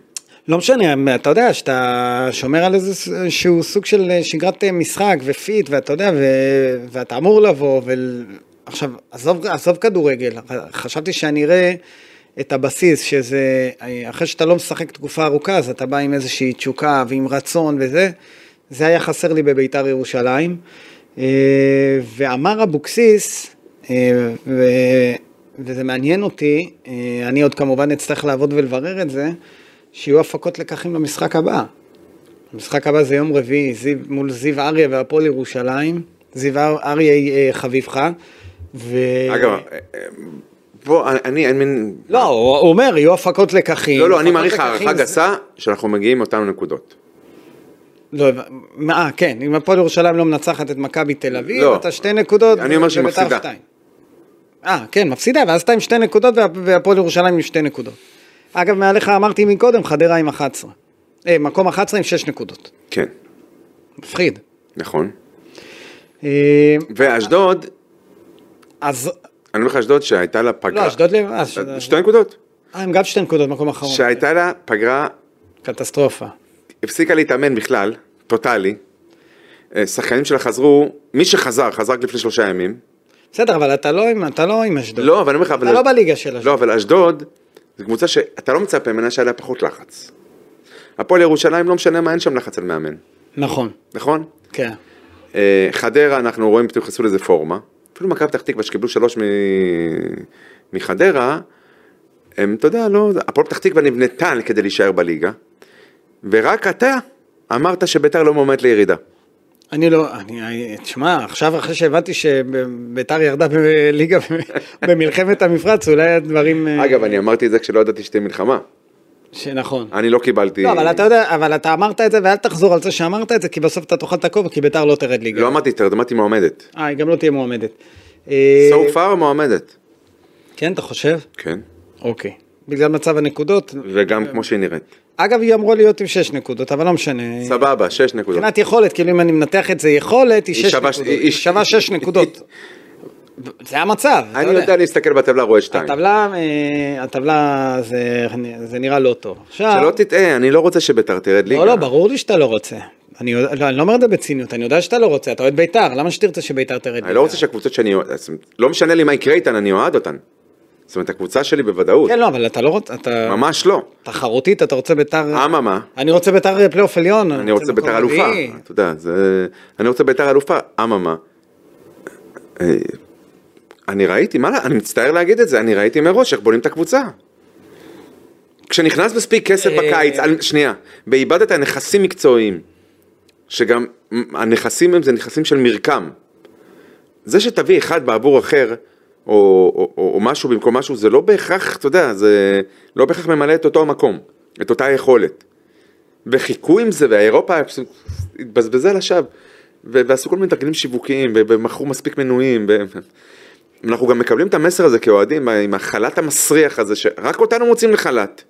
לא משנה, אתה יודע, שאתה שומר על איזה שהוא סוג של שגרת אה, משחק ופיט, ואתה יודע, ו... ואתה אמור לבוא, ו... עכשיו, עזוב, עזוב כדורגל, חשבתי שאני אראה את הבסיס, שזה, אה, אחרי שאתה לא משחק תקופה ארוכה, אז אתה בא עם איזושהי תשוקה ועם רצון וזה, זה היה חסר לי בביתר ירושלים. אה, ואמר אבוקסיס, אה, ו... וזה מעניין אותי, אה, אני עוד כמובן אצטרך לעבוד ולברר את זה, שיהיו הפקות לקחים למשחק הבא. המשחק הבא זה יום רביעי, זיו, מול זיו אריה והפועל ירושלים. זיו אר- אריה אה, חביבך. ו... אגב, אה, אה, בוא, אני- אני, אני מין... לא, הוא הוא אומר, יהיו הפקות לקחים. לא, לא, אני הפקות מעריך לקחים הערכה זה- גסה שאנחנו מגיעים אותן נקודות. לא, הבנ- מה, אה, כן, אם הפועל ירושלים לא מנצחת את מכבי תל אביב, לא. אתה שתי נקודות. אני אומר שהיא ובית"ר מפסידה. שתיים. אה, כן, מפסידה, ואז אתה עם שתי נקודות וה- והפועל ירושלים עם שתי נקודות. אגב, מעליך אמרתי מקודם, חדרה עם 11. אה, מקום 11 עם 6 נקודות. כן, מפחיד. נכון. אה, ואשדוד, אז אני אומר לך אשדוד שהייתה לה פגרה. לא, אשדוד נכון. לבד, אה, אשדוד- אוקיי. שתי נקודות. אה, הם גם שתי נקודות, מקום אחרון. שהייתה לה פגרה, קטסטרופה. הפסיקה להתאמן בכלל, טוטאלי. אה, שחקנים שלה חזרו, מי שחזר, חזר רק לפני שלושה ימים. בסדר, אבל אתה לא עם, אתה לא עם אשדוד. לא, אבל אני אומר לך, אתה לא בליגה של אשדוד. לא, אבל אשדוד, זו קבוצה שאתה לא מצפה ממנה שהיה לה פחות לחץ. הפועל ירושלים, לא משנה מה, אין שם לחץ על מאמן, נכון, נכון? כן. אה, חדרה, אנחנו רואים פתאום עשו לזה פורמה. אפילו מכבי פתח תקווה שקיבלו שלוש מ... מחדרה, הם, אתה יודע, לא, הפועל פתח תקווה נבנתה כדי להישאר בליגה, ורק אתה אמרת שביתר לא מועמד לירידה. אני לא, אני, אני- תשמע, עכשיו אחרי שהבנתי שביתר ירדה בליגה במלחמת המפרץ, אולי הדברים... אה, אגב, אני אמרתי את זה כשלא ידעתי שתהיה מלחמה. שנכון. אני לא קיבלתי... נכון. לא, אבל אתה יודע, אבל אתה אמרת את זה, ואל תחזור על זה שאמרת את זה, כי בסוף אתה תאכל את הכובע, כי ביתר לא תרד ליגה. לא אמרתי, תרד, אמרתי מועמדת. אה, היא גם לא תהיה מועמדת. אה, So far מועמדת. כן, אתה חושב? כן. אוקיי. בגלל מצב הנקודות. וגם כמו שהיא נראית. אגב, היא אמורה להיות עם שש נקודות, אבל לא משנה. סבבה, שש נקודות. מבחינת יכולת, כאילו אם אני מנתח את זה יכולת, היא היא שש שווה- נקודות. היא- היא שווה שש נקודות. זה המצב, אתה אני יודע להסתכל בטבלה, רואה שתיים. הטבלה, אה, הטבלה זה, זה נראה לא טוב. עכשיו, שלא תטעה, אני לא רוצה שביתר תרד ליגה. לא, לא, ברור לי שאתה לא רוצה. אני, יודע- לא, אני לא אומר את זה בציניות, אני יודע שאתה לא רוצה, אתה אוהד בית"ר, למה שתרצה שבית"ר תרד ליגה? אני לא רוצה שהקבוצות שאני אוהד, זאת אומרת, לא משנה לי מה יקרה איתן, אני אוהד אותן. זאת אומרת, הקבוצה שלי בוודאות. כן, לא, אבל אתה לא רוצה, אתה... ממש לא. תחרותית, אתה רוצה בית"ר... אממה, אני רוצה בית"ר פלייאוף עליון. אני רוצה מקום ביתר אלופה. רביעי. אתה יודע, זה... אני רוצה ביתר אלופה, אממה. אה, אני ראיתי, מה, לה- אני מצטער להגיד את זה, אני ראיתי מראש איך בונים את הקבוצה. כשנכנס מספיק כסף אה. בקיץ, על- שנייה, ואיבדת נכסים מקצועיים, שגם מ, הנכסים הם זה נכסים של מרקם. זה שתביא אחד בעבור אחר, או, או, או, או משהו במקום משהו, זה לא בהכרח, אתה יודע, זה לא בהכרח ממלא את אותו המקום, את אותה היכולת. וחיכו עם זה, ואירופה התבזבזה לשווא, ו- ועשו כל מיני תרגילים שיווקיים, ו- ומכרו מספיק מנויים. ו- אנחנו גם מקבלים את המסר הזה כאוהדים, עם החל"ת המסריח הזה, שרק אותנו מוצאים לחל"ת.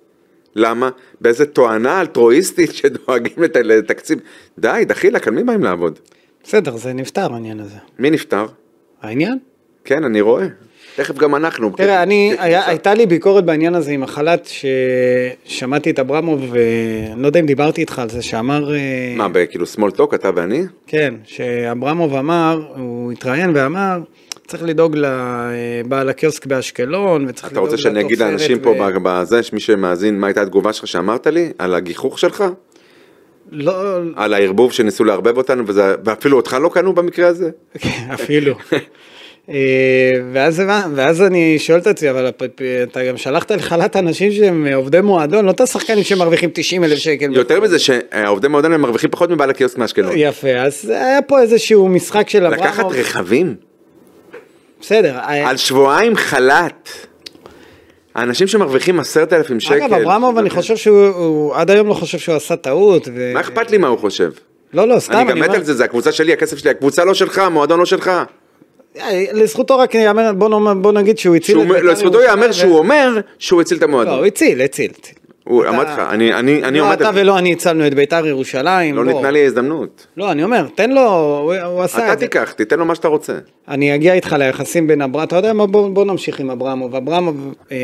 למה? באיזה תואנה אלטרואיסטית שדואגים לת- לתקציב. די, דחילק, על מי באים לעבוד? בסדר, זה נפתר העניין הזה. מי נפטר? העניין? כן, אני רואה. תכף גם אנחנו. כן, תראה, אני, כקבוצה. היה, הייתה לי ביקורת בעניין הזה עם החל"ת, ששמעתי את אברמוב, ואני לא יודע אם דיברתי איתך על זה, שאמר... אה, מה, בכאילו small talk, אתה ואני? כן, שאברמוב אמר, הוא התראיין ואמר, צריך לדאוג לבעל הקיוסק באשקלון, וצריך אתה לדאוג רוצה שאני אגיד לתופרת לאנשים לא- ו- פה בזה, שמי שמאזין, מה הייתה התגובה שלך שאמרת לי? על הגיחוך שלך? לא, על הערבוב שניסו לערבב אותנו, וזה, ואפילו אותך לא קנו במקרה הזה? כן, אפילו. אה, ואז, הבנ- ואז אני שואל את עצמי, אבל הפ- פ- אתה גם שלחת לחל"ת אנשים שהם עובדי מועדון, לא את השחקנים שמרוויחים 90 אלף שקל. יותר מזה שהעובדי מועדון הם מרוויחים פחות מבעל הקיוסק מאשקלון. יפה, אז היה פה איזשהו משחק של אברמוב. לקחת רכבים בסדר. אה, היה- על שבועיים חל"ת. האנשים שמרוויחים עשרת אלפים שקל. אוקיי. אגב, אברמוב, אני חושב שהוא הוא- עד היום לא חושב שהוא עשה טעות. ו- מה אכפת לי מה הוא חושב? לא, לא, סתם. אני גם מת אומר- על זה, זה הקבוצה שלי, הכסף שלי, הקבוצה לא שלך, המועדון לא שלך. אה, לזכותו רק ייאמר, בוא נאמר- בוא נגיד שהוא הציל שהוא- בית"ר לזכותו ירושלים ייאמר ו- שהוא אומר שהוא הציל את לא, המועדון. הוא הציל, הציל. הציל. הוא אתה- אמרתי לך, אני- אני אני לא עומד אתה על זה. ולא אני הצלנו את ביתר ירושלים. לא ניתנה לי הזדמנות. לא, אני אומר, תן לו, הוא הוא עשה אתה את זה. תיקח, תיתן לו מה שאתה רוצה. אני אגיע איתך ליחסים בין אברהם, אתה יודע מה, בוא, בוא נמשיך עם אברמוב. אברמוב, אה,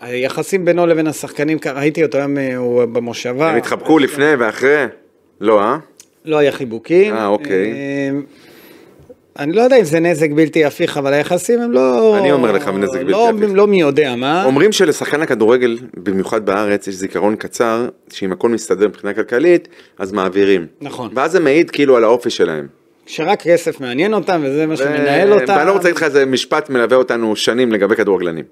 היחסים בינו לבין השחקנים, כ- ראיתי אותו היום, אה, הוא במושבה. הם התחבקו לפני ואחרי. לא, אה? לא היה חיבוקים. אה, אוקיי. אה, אני לא יודע אם זה נזק בלתי הפיך, אבל היחסים הם לא... אני אומר לך, נזק בלתי לא, הפיך. לא מי יודע מה. אומרים שלשחקן הכדורגל, במיוחד בארץ, יש זיכרון קצר, שאם הכל מסתדר מבחינה כלכלית, אז מעבירים. נכון. ואז זה מעיד כאילו על האופי שלהם. שרק כסף מעניין אותם, וזה מה שמנהל ו- אותם. ואני לא רוצה להגיד לך, זה משפט מלווה אותנו שנים לגבי כדורגלנים.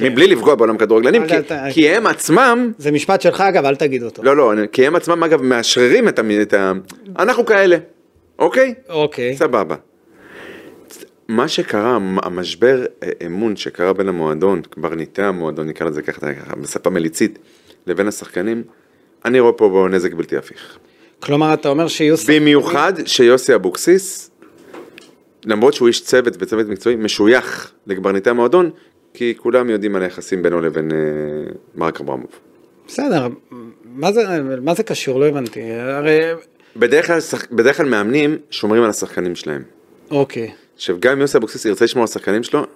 מבלי לפגוע בעולם כדורגלנים, כן. אבל כי- אתה- כי הם עצמם, זה משפט שלך, אגב, אל תגיד אותו. לא, לא, כי הם עצמם אגב מאשררים את המ- את ה... אנחנו כאלה, אוקיי? אוקיי. סבבה. מה שקרה, המ- המשבר אה, אמון שקרה בין המועדון, קברניטי המועדון, נקרא לזה ככה, ככה, בשפה מליצית, לבין השחקנים, אני רואה פה בו נזק בלתי הפיך. כלומר, אתה אומר שיהיו... שחקנים- במיוחד שיוסי אבוקסיס, למרות שהוא איש צוות וצוות מקצועי, משוייך לקברניטי המועדון, כי כולם יודעים על היחסים בינו לבין אה, מרק אברמוב. בסדר, מה זה, מה זה קשור? לא הבנתי. הרי... בדרך כלל, שח- בדרך כלל מאמנים שומרים על השחקנים שלהם. אוקיי. עכשיו, גם אם יוסי אבוקסיס ירצה לשמור על השחקנים שלו,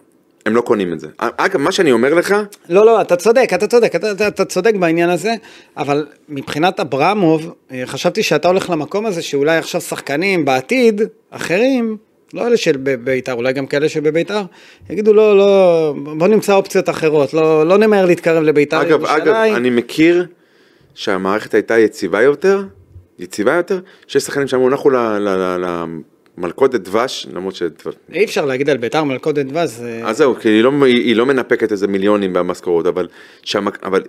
הם לא קונים את זה. אגב, מה שאני אומר לך, לא, לא, אתה צודק, אתה צודק, אתה, אתה, אתה צודק בעניין הזה, אבל מבחינת אברמוב, אה, חשבתי שאתה הולך למקום הזה שאולי עכשיו שחקנים בעתיד, אחרים, לא אלה של ב- בית"ר, אולי גם כאלה שבבית"ר, יגידו לא, לא, בוא נמצא אופציות אחרות, לא, לא נמהר להתקרב לבית"ר אגב, אגב, אני מכיר שהמערכת הייתה יציבה יותר, יציבה יותר, שיש שחקנים שאמרו, אנחנו ל- ל- ל- למלכודת דבש, למרות ש... אי אפשר להגיד על בית"ר מלכודת דבש, אה, אז זהו, כי היא לא, היא היא לא מנפקת איזה מיליונים במשכורות, אבל, שם, אבל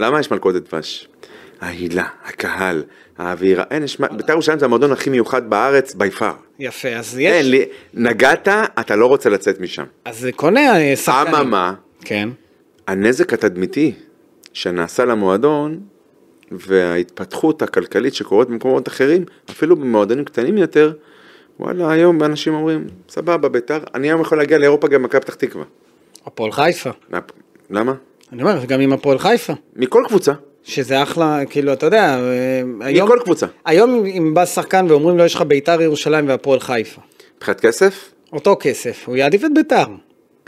למה יש מלכודת דבש? ההילה, הקהל, האווירה, אין, יש, מה- בית"ר ירושלים זה המועדון הכי מיוחד בארץ, by far. יפה, אז אין, יש, כן, לי- נגעת, אתה לא רוצה לצאת משם. אז זה קונה אה, שחקנים. אממה, כן. הנזק התדמיתי שנעשה למועדון וההתפתחות הכלכלית שקורית במקומות אחרים, אפילו במועדונים קטנים יותר, וואלה, היום אנשים אומרים, סבבה, בית"ר, אני היום יכול להגיע לאירופה גם מכבי פתח תקווה. הפועל חיפה. למה? אני אומר, גם עם הפועל חיפה. מכל קבוצה, שזה אחלה, כאילו, אתה יודע, אה, היום... מכל קבוצה. היום אם- אם בא שחקן ואומרים לו יש לך ביתר ירושלים והפועל חיפה, מבחינת כסף? אותו כסף, הוא יעדיף את ביתר.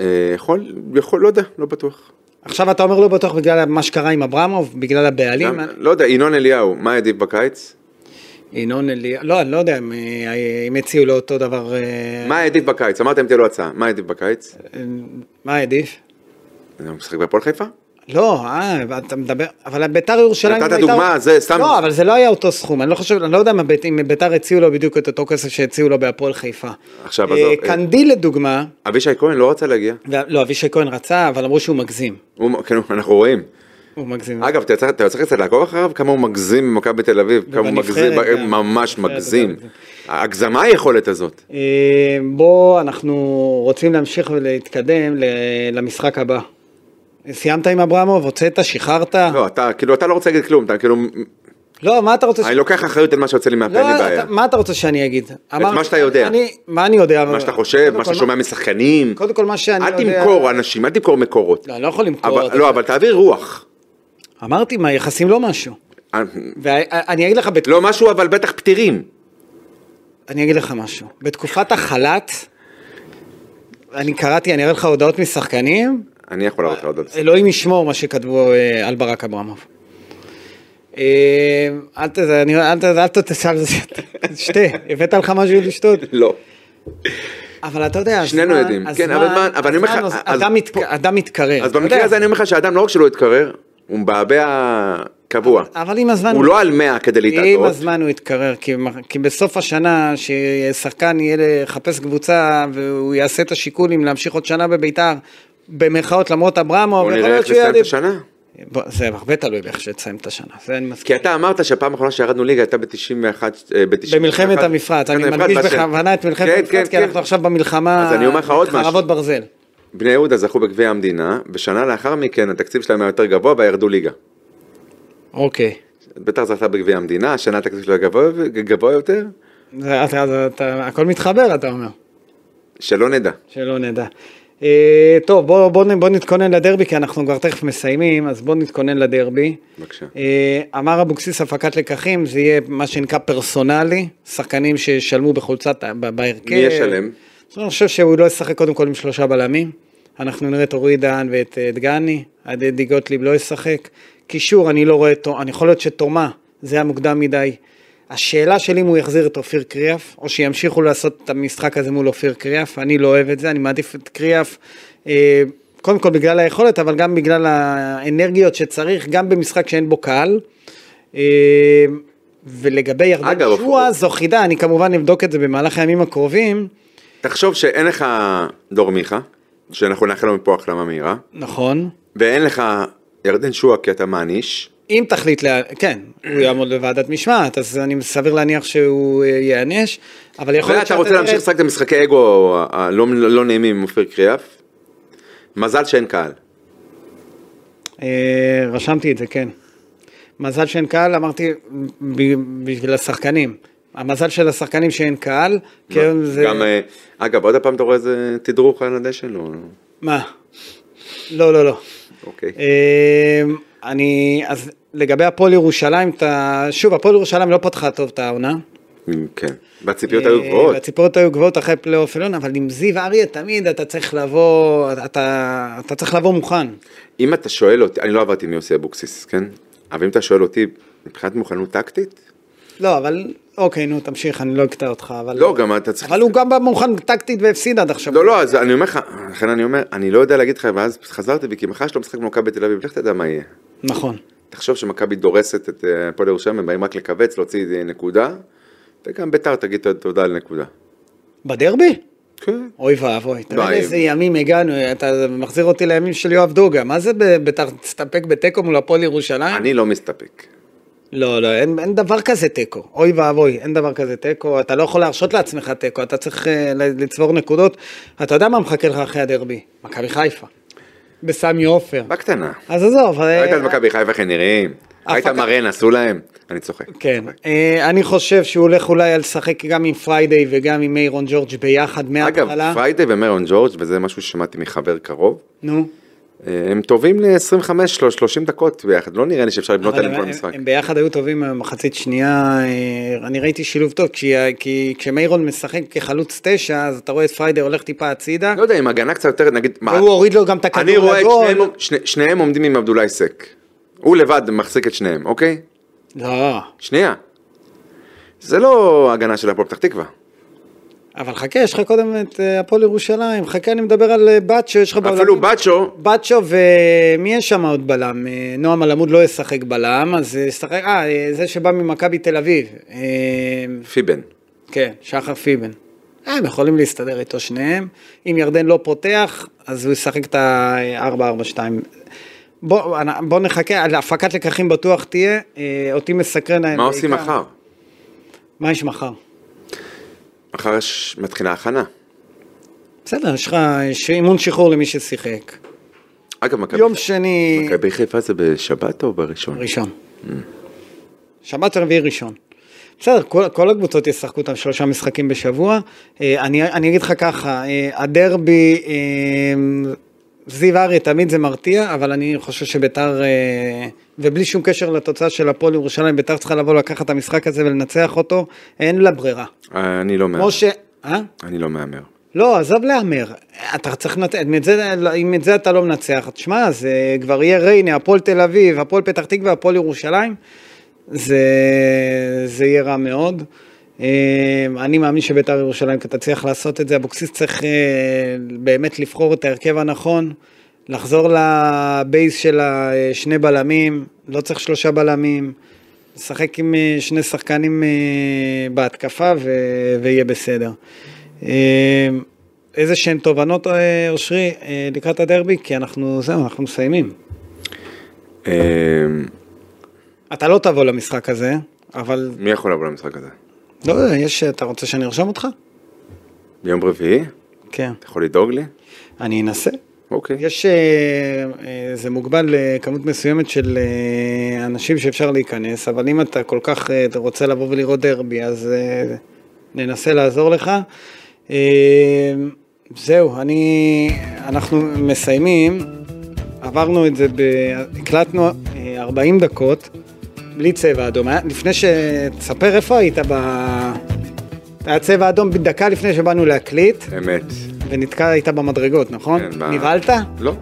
אה, יכול, יכול, לא יודע, לא בטוח. עכשיו אתה אומר לא בטוח בגלל מה שקרה עם אברמוב, בגלל הבעלים, גם, לא יודע, ינון אליהו, מה העדיף בקיץ? ינון אליה, לא, אני לא יודע אם, אה, אם הציעו לו אותו דבר, אה, מה העדיף בקיץ? אמרתם תהיה לו הצעה, מה העדיף בקיץ? אה, מה עדיף? הוא משחק בהפועל חיפה? לא, אה, אתה מדבר, אבל ביתר ירושלים... נתת והייתה- דוגמה, זה סתם- לא, אבל זה לא היה אותו סכום, אני לא חושב, אני לא יודע מה בית- אם ביתר הציעו לו בדיוק את אותו כסף שהציעו לו בהפועל חיפה. עכשיו, אה, עזוב, אה. קנדיל לדוגמה, אבישי כהן לא רצה להגיע. ו- לא, אבישי כהן רצה, אבל אמרו שהוא מגזים. הוא, כן, אנחנו רואים. הוא מגזים. אגב, אתה צריך- אתה צריך קצת לעקוב אחריו כמה הוא מגזים במכבי תל אביב, כמה הוא מגזים, ובנבחרת גם. ממש בנבחרת מגזים. גם. כן. הגזמה היכולת הזאת. אה, בוא, אנחנו רוצים להמשיך ולהתקדם ל- למשחק הבא. סיימת עם אברמוב? הוצאת? שחררת? לא, אתה כאילו, אתה לא רוצה להגיד כלום, אתה כאילו, לא, מה אתה רוצה ש... אני לוקח אחריות על מה שיוצא לי מהפה, לא, אין לי אתה- בעיה. מה אתה רוצה שאני אגיד? אמר- מה שאתה יודע. אני- מה אני יודע? מה שאתה חושב, מה שאתה שומע משחקנים. קודם כל, מה שאני אל יודע... תמכור אנשים, אל תמכור מקורות. לא, אני לא יכול למכור. אבל- אתה לא, יודע. אבל תעביר רוח. אמרתי, מה, יחסים לא משהו. אה, ואני אגיד לך, בת- לא משהו, אבל בטח פתירים. אני אגיד לך משהו. בתקופת החל"ת, אני קראתי, אני אראה לך הודעות משחקנים, אני יכול להראות לך עוד על זה. אלוהים ישמור מה שכתבו אה, על ברק אברמוב. אה, אל ת- אני- אל ת- אל תתשאל, שתה, הבאת לך משהו לשתות, לא. אבל אתה יודע, הזמן, שנינו יודעים, כן, אבל הזמן- מה- אבל אני אומר לך, הזמן, אז אדם מתק- אדם מתקרר, אז אתה במקרה יודע. הזה אני אומר לך שהאדם לא רק שלא התקרר, הוא מבעבע קבוע. אבל עם הזמן... הוא לא על 100 כדי עם להתעדות. הזמן הוא יתקרר, כי, כי בסוף השנה, ששחקן יהיה לחפש קבוצה והוא יעשה את השיקול אם להמשיך עוד שנה בביתר, במרכאות למרות אברמוב, בוא יכול נראה להיות איך שהוא נסיים את יעדיף- השנה. בוא, זה הרבה תלוי באיך שתסיים את השנה, זה אני מסכים. כי אתה אמרת שהפעם האחרונה שירדנו ליגה הייתה ב-91... אה, ב- במלחמת 91. המפרץ, אני מלחמת מדגיש כן, המפרץ, בכוונה את מלחמת כן, המפרץ, כן, כי כן. אנחנו עכשיו במלחמה, אז אני אומר לך עוד משהו. חרבות ברזל. בני יהודה זכו בגביע המדינה, ושנה לאחר מכן התקציב שלהם היה יותר גבוה וירדו ליגה. אוקיי. ביתר זכתה בגביע המדינה, השנה התקציב שלה גבוה, גבוה יותר, זה- אתה- אתה- אתה- הכל מתחבר, אתה אומר. שלא נדע. שלא נדע. אה, טוב, בוא, בוא, נ- בוא נתכונן לדרבי, כי אנחנו כבר תכף מסיימים, אז בוא נתכונן לדרבי. בבקשה. אה, אמר אבוקסיס הפקת לקחים, זה יהיה מה שנקרא פרסונלי, שחקנים שישלמו בחולצת, ב- בהרכב. מי ישלם? אני חושב שהוא לא ישחק קודם כל עם שלושה בלמים. אנחנו נראה את אורי דהן ואת אה, דגני, עד אדי גוטליב לא ישחק. קישור, אני לא רואה, תו- אני יכול להיות שתומה, זה היה מוקדם מדי. השאלה שלי אם הוא יחזיר את אופיר קריאף, או שימשיכו לעשות את המשחק הזה מול אופיר קריאף, אני לא אוהב את זה, אני מעדיף את קריאף, אה, קודם כל בגלל היכולת, אבל גם בגלל האנרגיות שצריך, גם במשחק שאין בו קהל. אה, ולגבי ירדן אגב, שועה, זו חידה, אני כמובן אבדוק את זה במהלך הימים הקרובים. תחשוב שאין לך דור מיכה, שאנחנו נאחל לו מפה החלמה מהירה, נכון. ואין לך ירדן שועה כי אתה מעניש, אם תחליט, לה... כן, הוא יעמוד בוועדת משמעת, אז אני סביר להניח שהוא אה, ייענש, אבל יכול להיות ואתה רוצה להמשיך לשחק את המשחקי אגו ה- ה- לא לא נעימים עם אופיר קריאף. מזל שאין קהל. אה, רשמתי את זה, כן. מזל שאין קהל, אמרתי, ב- בשביל השחקנים. המזל של השחקנים שאין קהל, כן, זה... גם, אה, אגב, עוד פעם אתה רואה איזה תדרוך על הדשא? לא, מה? לא, לא, לא. אוקיי. אמ, אני, אז לגבי הפועל ירושלים, אתה, שוב, הפועל ירושלים לא פתחה טוב את העונה. כן. אה, והציפיות היו גבוהות. הציפורות היו גבוהות אחרי פלייאוף עליון, אבל עם זיו אריה תמיד אתה צריך לבוא, אתה, אתה צריך לבוא מוכן. אם אתה שואל אותי, אני לא עבדתי עם יוסי אבוקסיס, כן? אבל אם אתה שואל אותי, מבחינת מוכנות טקטית? לא, אבל, אוקיי, נו, תמשיך, אני לא אקטע אותך, אבל... לא, גם אתה צריך... אבל הוא גם בא מוכן טקטית והפסיד עד עכשיו. לא, לא, אז אני אומר לך, לכן אני אומר, אני לא יודע להגיד לך, ואז חזרתי בי, כי מחר יש לו משחק במכבי תל אביב, לך תדע מה יהיה. נכון. תחשוב שמכבי דורסת את אה, הפועל ירושלים, הם באים רק לכווץ, להוציא אה, נקודה, וגם ביתר תגיד תודה על נקודה. בדרבי? כן. אוי ואבוי, אתה לא, יודע אני- לאיזה ימים הגענו, אתה מחזיר אותי לימים של יואב דוגה, מה זה ב- בית"ר תסתפק בתיקו מול הפועל ירושלים? אני לא מסתפק. לא, לא, אין, אין דבר כזה תיקו. אוי ואבוי, אין דבר כזה תיקו. אתה לא יכול להרשות לעצמך תיקו, אתה צריך אה, ל- לצבור נקודות. אתה יודע מה מחכה לך אחרי הדרבי? מכבי חיפה. בסמי עופר. בקטנה. אז עזוב. אה, ראית את מכבי חיפה איך הם נראים? ראית הפקה- מראה נעשו להם? אני צוחק. כן. אה, אני חושב שהוא הולך אולי לשחק גם עם פריידי וגם עם מיירון ג'ורג' ביחד אגב, מההתחלה. פריידי ומרון ג'ורג', וזה משהו ששמעתי מחבר קרוב, נו. אה, הם טובים ל-25-30 דקות ביחד, לא נראה לי שאפשר לבנות אבל עליהם הם, כל הם, משחק. הם ביחד היו טובים במחצית שנייה, אה, אני ראיתי שילוב טוב, כי, כי כשמיירון משחק כחלוץ תשע, אז אתה רואה את פריידי הולך טיפה הצידה, לא יודע, עם הגנה קצת יותר, נגיד, מה, והוא הוריד לו גם את אני הכדור רואה את לגול. שניהם, שני- שניהם עומדים עם עבדולאי סק. הוא לבד מחזיק את שניהם, אוקיי? לא, שנייה. זה לא הגנה של הפועל פתח תקווה. לא, אבל חכה, יש לך קודם את אה, הפועל ירושלים, חכה, אני מדבר על אה, בצ'ו, יש לך בעולם. אפילו בצ'ו, בצ'ו ומי יש שם עוד בלם? אה, נועם אלעמוד לא ישחק בלם, אז אה, ישחק, אה, אה, זה שבא ממכבי תל אביב. אה, פיבן. כן, שחר פיבן. אה, הם יכולים להסתדר איתו שניהם. אם ירדן לא פותח, אז הוא ישחק את ה-4-4-2. בוא, אנ- בוא נחכה, על הפקת לקחים בטוח תהיה, אה, אותי מסקרן. מה עושים בעיקר- מחר? מה יש מחר? מחר יש- מתחילה הכנה. בסדר, יש לך יש אימון שחרור למי ששיחק. אגב, מכבי יום שני, מכבי חיפה זה בשבת או בראשון? ראשון. שבת רביעי ראשון. בסדר, כל, כל הקבוצות ישחקו אותם שלושה משחקים בשבוע. אה, אני, אני אגיד לך ככה, אה, הדרבי, אה, זיו אריה תמיד זה מרתיע, אבל אני חושב שביתר, אה, ובלי שום קשר לתוצאה של הפועל ירושלים, ביתר צריכה לבוא לקחת את המשחק הזה ולנצח אותו, אין לה ברירה. אה, אני לא מהמר. כמו ש... אה? אני לא מהמר. לא, עזוב להמר. אתה צריך לנצח, את זה- אם את זה אתה לא מנצח, תשמע, זה כבר יהיה ריינה, הפועל תל אביב, הפועל פתח תקווה, הפועל ירושלים, זה, זה יהיה רע מאוד. אה, אני מאמין שביתר ירושלים תצליח לעשות את זה, אבוקסיס צריך אה, באמת לבחור את ההרכב הנכון. לחזור לבייס של השני בלמים, לא צריך שלושה בלמים, לשחק עם אה, שני שחקנים אה, בהתקפה ו... ויהיה בסדר. אה, איזה שהן תובנות, אה, אושרי, אה, לקראת הדרבי? כי אנחנו, זהו, אנחנו מסיימים. אה, אתה לא תבוא למשחק הזה, אבל מי יכול לבוא למשחק הזה? לא יודע, יש, אתה רוצה שאני ארשום אותך? ביום רביעי? כן. אתה יכול לדאוג לי? אני אנסה. אוקיי. יש, אה, אה, זה מוגבל לכמות מסוימת של אה, אנשים שאפשר להיכנס, אבל אם אתה כל כך אה, רוצה לבוא ולראות דרבי, אז אה, ננסה לעזור לך. אה, זהו, אני, אנחנו מסיימים, עברנו את זה, ב, הקלטנו אה, 40 דקות, בלי צבע אדום. היה- לפני ש... תספר איפה היית ב... היה צבע אדום דקה לפני שבאנו להקליט. אמת. ונתקעת במדרגות, נכון? כן, ב- נבהלת? לא.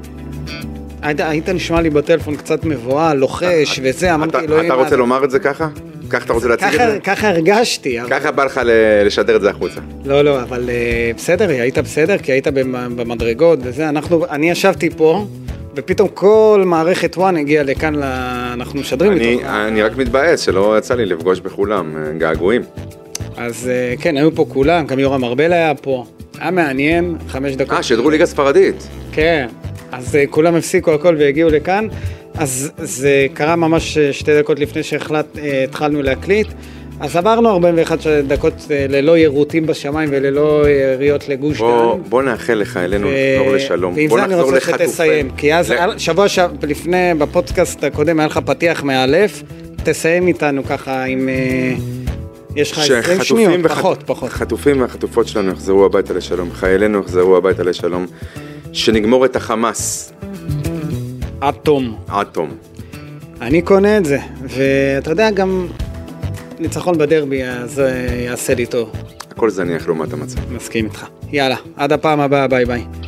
היית, היית נשמע לי בטלפון קצת מבוהל, לוחש וזה, אמרתי, אה, אתה- אלוהים... אתה רוצה אז- לומר את זה ככה? ככה אתה רוצה להציג את לא ככה- זה? ככה הרגשתי, אבל... ככה בא לך ל- לשדר את זה החוצה. לא, לא, אבל אה, בסדר, היית בסדר, כי היית במ- במדרגות וזה. אנחנו, אני ישבתי פה, ופתאום כל מערכת וואן הגיעה לכאן, ל... אנחנו משדרים אני- איתו. אני רק מתבאס שלא יצא לי לפגוש בכולם אה, געגועים. אז אה, כן, היו פה כולם, גם יורם ארבל היה פה. היה מעניין, חמש דקות. אה, שידרו ליגה ספרדית. כן, אז אה, כולם הפסיקו הכל והגיעו לכאן, אז זה קרה ממש אה, שתי דקות לפני שהתחלנו להקליט, אז עברנו 41 ש- דקות אה, ללא יירוטים בשמיים וללא אה, יריות לגוש דן. בוא- בוא נאחל לך אלינו ו- לחזור לשלום. אה, ועם בוא זה אני נחזור רוצה שתסיים, לחטופינו. כי אז ל- על- שבוע ש... לפני, בפודקאסט הקודם היה לך פתיח מאלף, תסיים איתנו ככה עם... אה, יש לך 20 שחטופים שניות, וחט- פחות, פחות. חטופים והחטופות שלנו יחזרו הביתה לשלום, חיילינו יחזרו הביתה לשלום, שנגמור את החמאס עד תום. עד תום. אני קונה את זה, ואתה יודע, גם ניצחון בדרבי אז אה, יעשה לי טוב, הכל זניח לעומת המצב. מסכים איתך. יאללה, עד הפעם הבאה, ביי ביי.